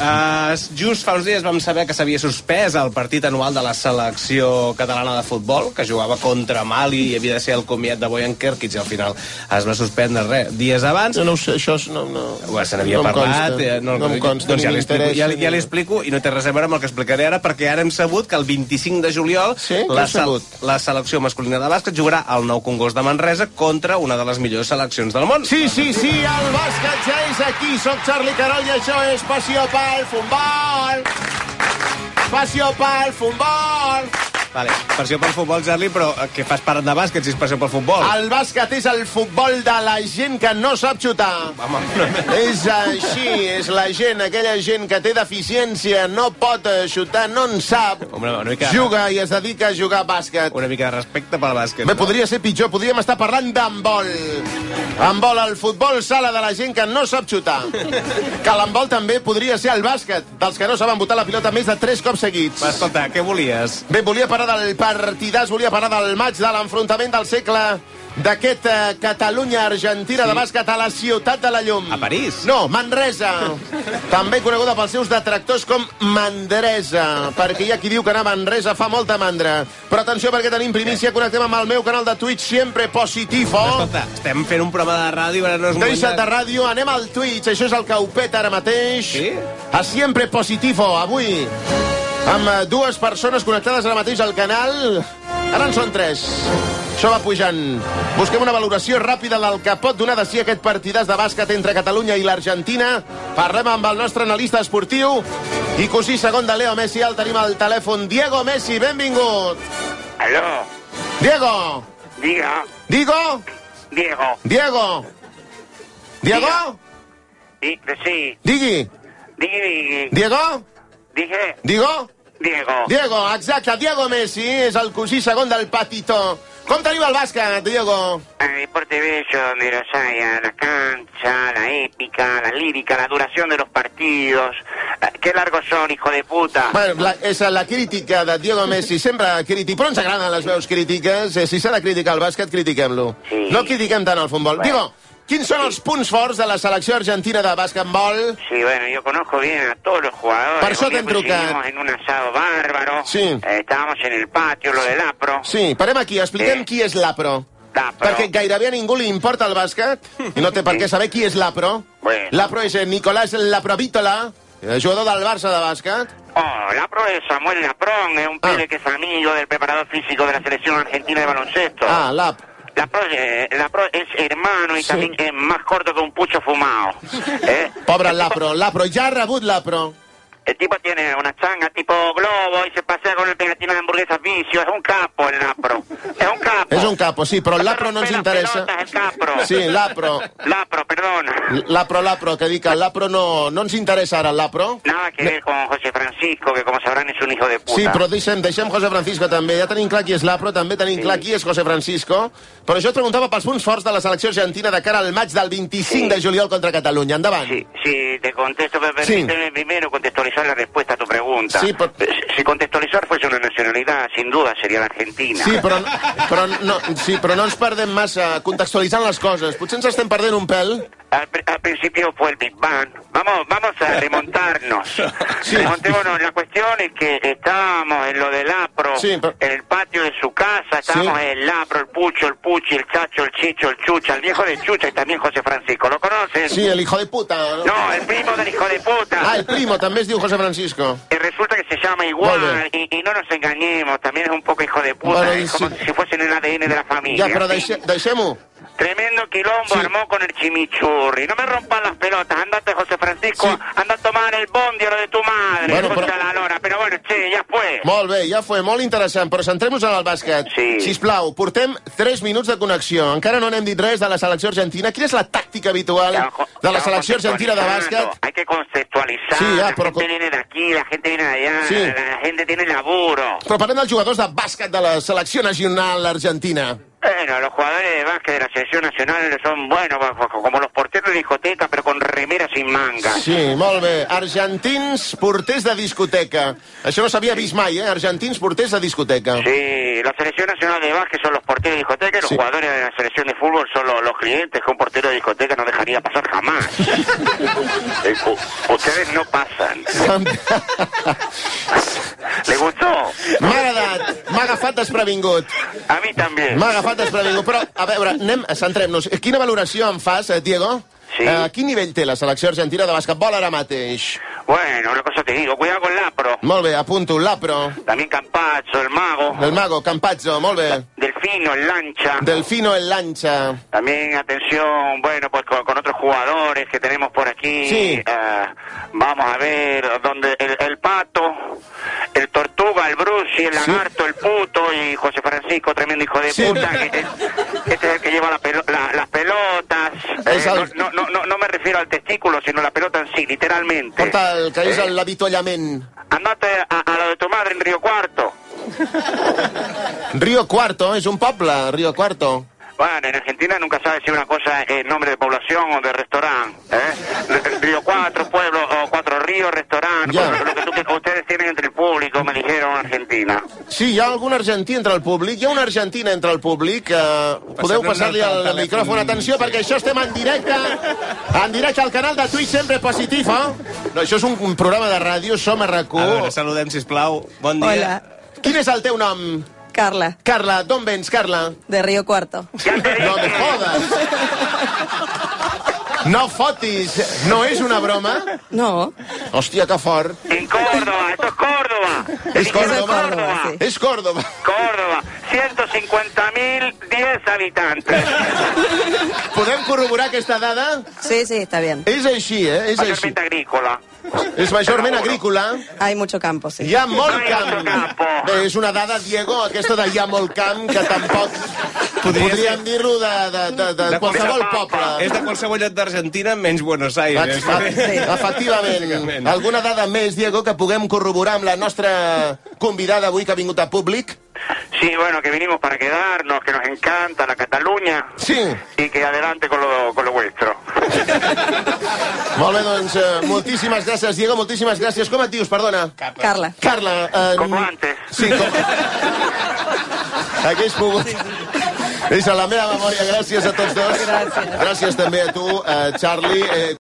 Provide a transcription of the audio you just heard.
Uh, just fa uns dies vam saber que s'havia suspès el partit anual de la selecció catalana de futbol, que jugava contra Mali i havia de ser el comiat de Bojan Kerkic i al final es va suspendre res dies abans. No, no ho sé, això és- no, no... Bé, se n'havia no em parlat, consta. eh, no, em consta, doncs ja ni l'explico, m'interessa. ja, li- ja l'explico i no té res a veure amb el que explicaré ara perquè ara hem sabut que el 25 de juliol Sí? Què la, has sabut? la selecció masculina de bàsquet jugarà al nou Congost de Manresa contra una de les millors seleccions del món. Sí, sí, sí, el bàsquet ja és aquí. Soc Charlie Carol i això és Passió pel Futbol. Passió pel Futbol. Vale. Passió pel futbol, Charlie, però eh, què fas parlant de bàsquet si és passió pel futbol? Ah. El bàsquet és el futbol de la gent que no sap xutar. Home, no, És així, és la gent, aquella gent que té deficiència, no pot eh, xutar, no en sap, Home, una mica- juga i es dedica a jugar a bàsquet. una mica de respecte pel bàsquet. Eh, Bé, podria ser pitjor, podríem estar parlant d'handbol. Handbol, el futbol sala de la gent que no sap xutar. Que l'handbol també podria ser el bàsquet, dels que no saben botar la pilota més de 3 cops seguits. Va, Escolta, què volies? Bé, volia parlar del partidàs, volia parlar del maig de l'enfrontament del segle d'aquest eh, Catalunya-Argentina sí. de bàsquet a la ciutat de la llum. A París? No, Manresa. També coneguda pels seus detractors com Mandresa, perquè hi ha qui diu que anar a Manresa fa molta mandra. Però atenció, perquè tenim primícia, connectem amb el meu canal de Twitch, sempre oh. positivo. Escolta, estem fent un programa de ràdio, ara no és moment Deixa't de ràdio, anem al Twitch, això és el que ho peta ara mateix. Sí? A Siempre Positivo, avui, amb eh, dues persones connectades ara mateix al canal. Ara en són tres. Això va pujant. Busquem una valoració ràpida del que pot donar de si aquest partidàs de bàsquet entre Catalunya i l'Argentina. Parlem amb el nostre analista esportiu i cosí segon de Leo Messi. El tenim al telèfon. Diego Messi, benvingut. Aló, Diego! diga, Digo! Diego. Diego! Diego? Di- sí, Digui! digui, digui. Diego? Dije, Diego? Diego. Diego, exacte, Diego Messi és el cosí segon del Patito. Com teniu el bàsquet, Diego? El deporte bello donde los haya, la cancha, la épica, la lírica, la duración de los partidos. Eh, Qué largos son, hijo de puta. Bueno, la, és la crítica de Diego Messi, sempre crític, però ens agraden les veus crítiques. Eh, Si s'ha de criticar el bàsquet, critiquem-lo. Sí. No critiquem tant el futbol. Diego, quins són els punts forts de la selecció argentina de bàsquetbol? Sí, bueno, yo conozco bien a todos los jugadores. Por eso Un día te entruca. coincidimos en un asado bárbaro. Sí. Eh, estábamos en el patio, lo del APRO. Sí, parem aquí, expliquem Eh. qui és l'APRO. L'APRO. Perquè gairebé a ningú li importa el bàsquet i no té per què saber qui és l'APRO. Bueno. L'APRO és eh, Nicolás Laprovítola, eh, jugador del Barça de bàsquet. Oh, Lapro es Samuel Laprón, es un Ah. pibe que es amigo del preparador físico de la selección argentina de baloncesto. Ah, l'AP. La pro, eh, la pro es hermano y Sí. también es más corto que un pucho fumado. ¿eh? Pobre Lapro, Lapro, ja ha rebut Lapro. El tipo tiene una changa tipo globo y se pasea con el pegatino de hamburguesas vicio. Es un capo el Lapro. Es un capo. És un capo, sí, però Pero Lapro no ens rompe las interessa. pelotas, el capro. Sí, Lapro. Lapro, perdona. Lapro, Lapro, que dic que el Lapro no, no ens interessa ara, el Lapro. Nada que ver con José Francisco, que como sabrán es un hijo de puta. Sí, però deixem, deixem José Francisco també. Ja tenim clar qui és Lapro, també tenim clar qui és José Francisco. Però jo et preguntava pels punts forts de la selecció argentina de cara al maig del 25 de juliol contra Catalunya. Endavant. Sí, sí, te contesto, pero Sí. permíteme primero contextualizar la respuesta a tu pregunta. Sí, por- Si contextualizar fuese una nacionalidad, sin duda sería la Argentina. Sí, però, però, no, sí, però no ens perdem massa contextualitzant les coses. Potser ens estem perdent un pèl. Al, pri- al principio fue el Big Bang. Vamos, vamos a remontarnos. Remontémonos. La cuestión es que estábamos en lo del APRO, Sí, pero- en el patio de su casa, estábamos en el APRO, el Pucho, el Puchi, el Chacho, el Chicho, el Chucha, el viejo de Chucha y también José Francisco. ¿Lo conocen? Sí, el hijo de puta. No? No, el primo del hijo de puta. Ah, el primo, també es diu José Francisco. Y resulta que se llama igual, Vale. y, y no nos engañemos, también es un poco hijo de puta, Vale, es como sí. si fuesen el ADN de la familia. Ja, però ¿sí? deixe- deixem-ho. Tremendo quilombo Sí. armó con el chimichurri. No me rompan las pelotas. Andate, José Francisco. Sí. Anda a tomar el bondi o lo de tu madre. Bueno, contra pero- la lora. Pero bueno, che, ya fue. Molt bé, ja fue, molt interessant, però centrem-nos en el bàsquet. Sí. Sisplau, portem 3 minuts de connexió. Encara no n'hem dit res de la selecció argentina. Quina és la tàctica habitual Estamos- de eh, la estamos selecció argentina de contextualizando. bàsquet? Hay que contextualizar. Sí, ya, la pero gente con- viene de aquí, la gente viene de allá. Sí. La gente tiene laburo. Però parlem dels jugadors de bàsquet de la selecció nacional argentina. Bueno, los jugadores de básquet de la selección nacional son buenos, como los porteros de discoteca, pero con remera sin manga. Sí, molt bé. Argentins porters de discoteca. Això no s'havia vist mai, eh? Argentins porters de discoteca. Sí, la selección nacional de básquet son los porteros de discoteca y los Sí. jugadores de la selección de fútbol son los, los clientes que un portero de discoteca no dejaría pasar jamás. Eh, u- ustedes no pasan. ¿Le gustó? M'ha agradat, m'ha agafat desprevingut. A mí también. M'ha agafat desprevingut. Però, a veure, anem, eh, centrem-nos. Quina valoració en fas, eh, Diego? Sí. Eh, quin nivell té la selecció argentina de basquetbol ara mateix? Bueno, una cosa te digo, cuidado con Lapro, Molt bé, apunto. Lapro, también Campazzo, el mago, el mago, Campazzo, molt bé. Delfino, el lancha. Delfino, el lancha. También atención, bueno, pues con, con otros jugadores que tenemos por aquí. Sí. Eh, vamos a ver, donde el, el pato, el tortuga, el bruci, el lagarto, el puto y José Francisco, tremendo hijo de Sí. puta. que es- este es el que lleva la pelo- la- las pelotas. Es Eh, al- no, no, no, no me refiero al testículo, sino la pelota en sí, literalmente. Porta el que és Eh, l'avituallament. Andate a, a lo de tu madre en Río Cuarto. Río Cuarto, és un poble, Río Cuarto. Bueno, en Argentina nunca sabes si una cosa es nombre de población o de restaurante. ¿eh? R- Río Cuatro, pueblo, o Cuatro Ríos, restaurante. Ya. Lo que tú- que ustedes tienen entre el público, me dijeron, Argentina. Sí, hi ha algun argentí entre el públic, hi ha una argentina entre el públic. Eh, podeu Passem-li passar-li un altre el, telèfon. micròfon, atenció, perquè això estem en directe, en directe al canal de Twitch, sempre positiu, eh? No, això és un, un programa de ràdio, som a A veure, RAC1. saludem, sisplau. Bon dia. Hola, Quin és el teu nom? Carla, Carla, d'on vens, Carla? de Río Cuarto. Ya te No me dije. jodas. No fotis, no és una broma? No, Hòstia, que fort. En Córdoba, esto es Córdoba. Te Es dije, esto Córdoba. Córdoba, sí. És Córdoba. Córdoba, 150.010 habitantes. Podem corroborar aquesta dada? sí, sí, está bien. És així, eh? És així. Mayormente agrícola. És majorment agrícola. Hay mucho campo, sí. Hi ha molt Ai, camp. otro campo. Bé, és una dada, Diego, aquesta de hi ha molt camp, que tampoc Podria podríem dir-lo de, de, de, de De qualsevol Pampa. És poble. de qualsevol lloc d'Argentina, menys Buenos Aires. Sí. Efectivament. Bàsicament. Alguna dada més, Diego, que puguem corroborar amb la nostra convidada avui que ha vingut a públic? Sí, bueno, que vinimos para quedarnos, que nos encanta la Cataluña Sí. y que adelante con lo, con lo vuestro. Molt bé, doncs, eh, moltíssimes gràcies, Diego, moltíssimes gràcies. Com et dius, perdona? Carla. Carla. Eh, Como antes. Sí, com... Hagués pogut... És a la meva memòria. Gràcies a tots dos. Gràcies. Gràcies també a tu, eh, Charlie. Eh,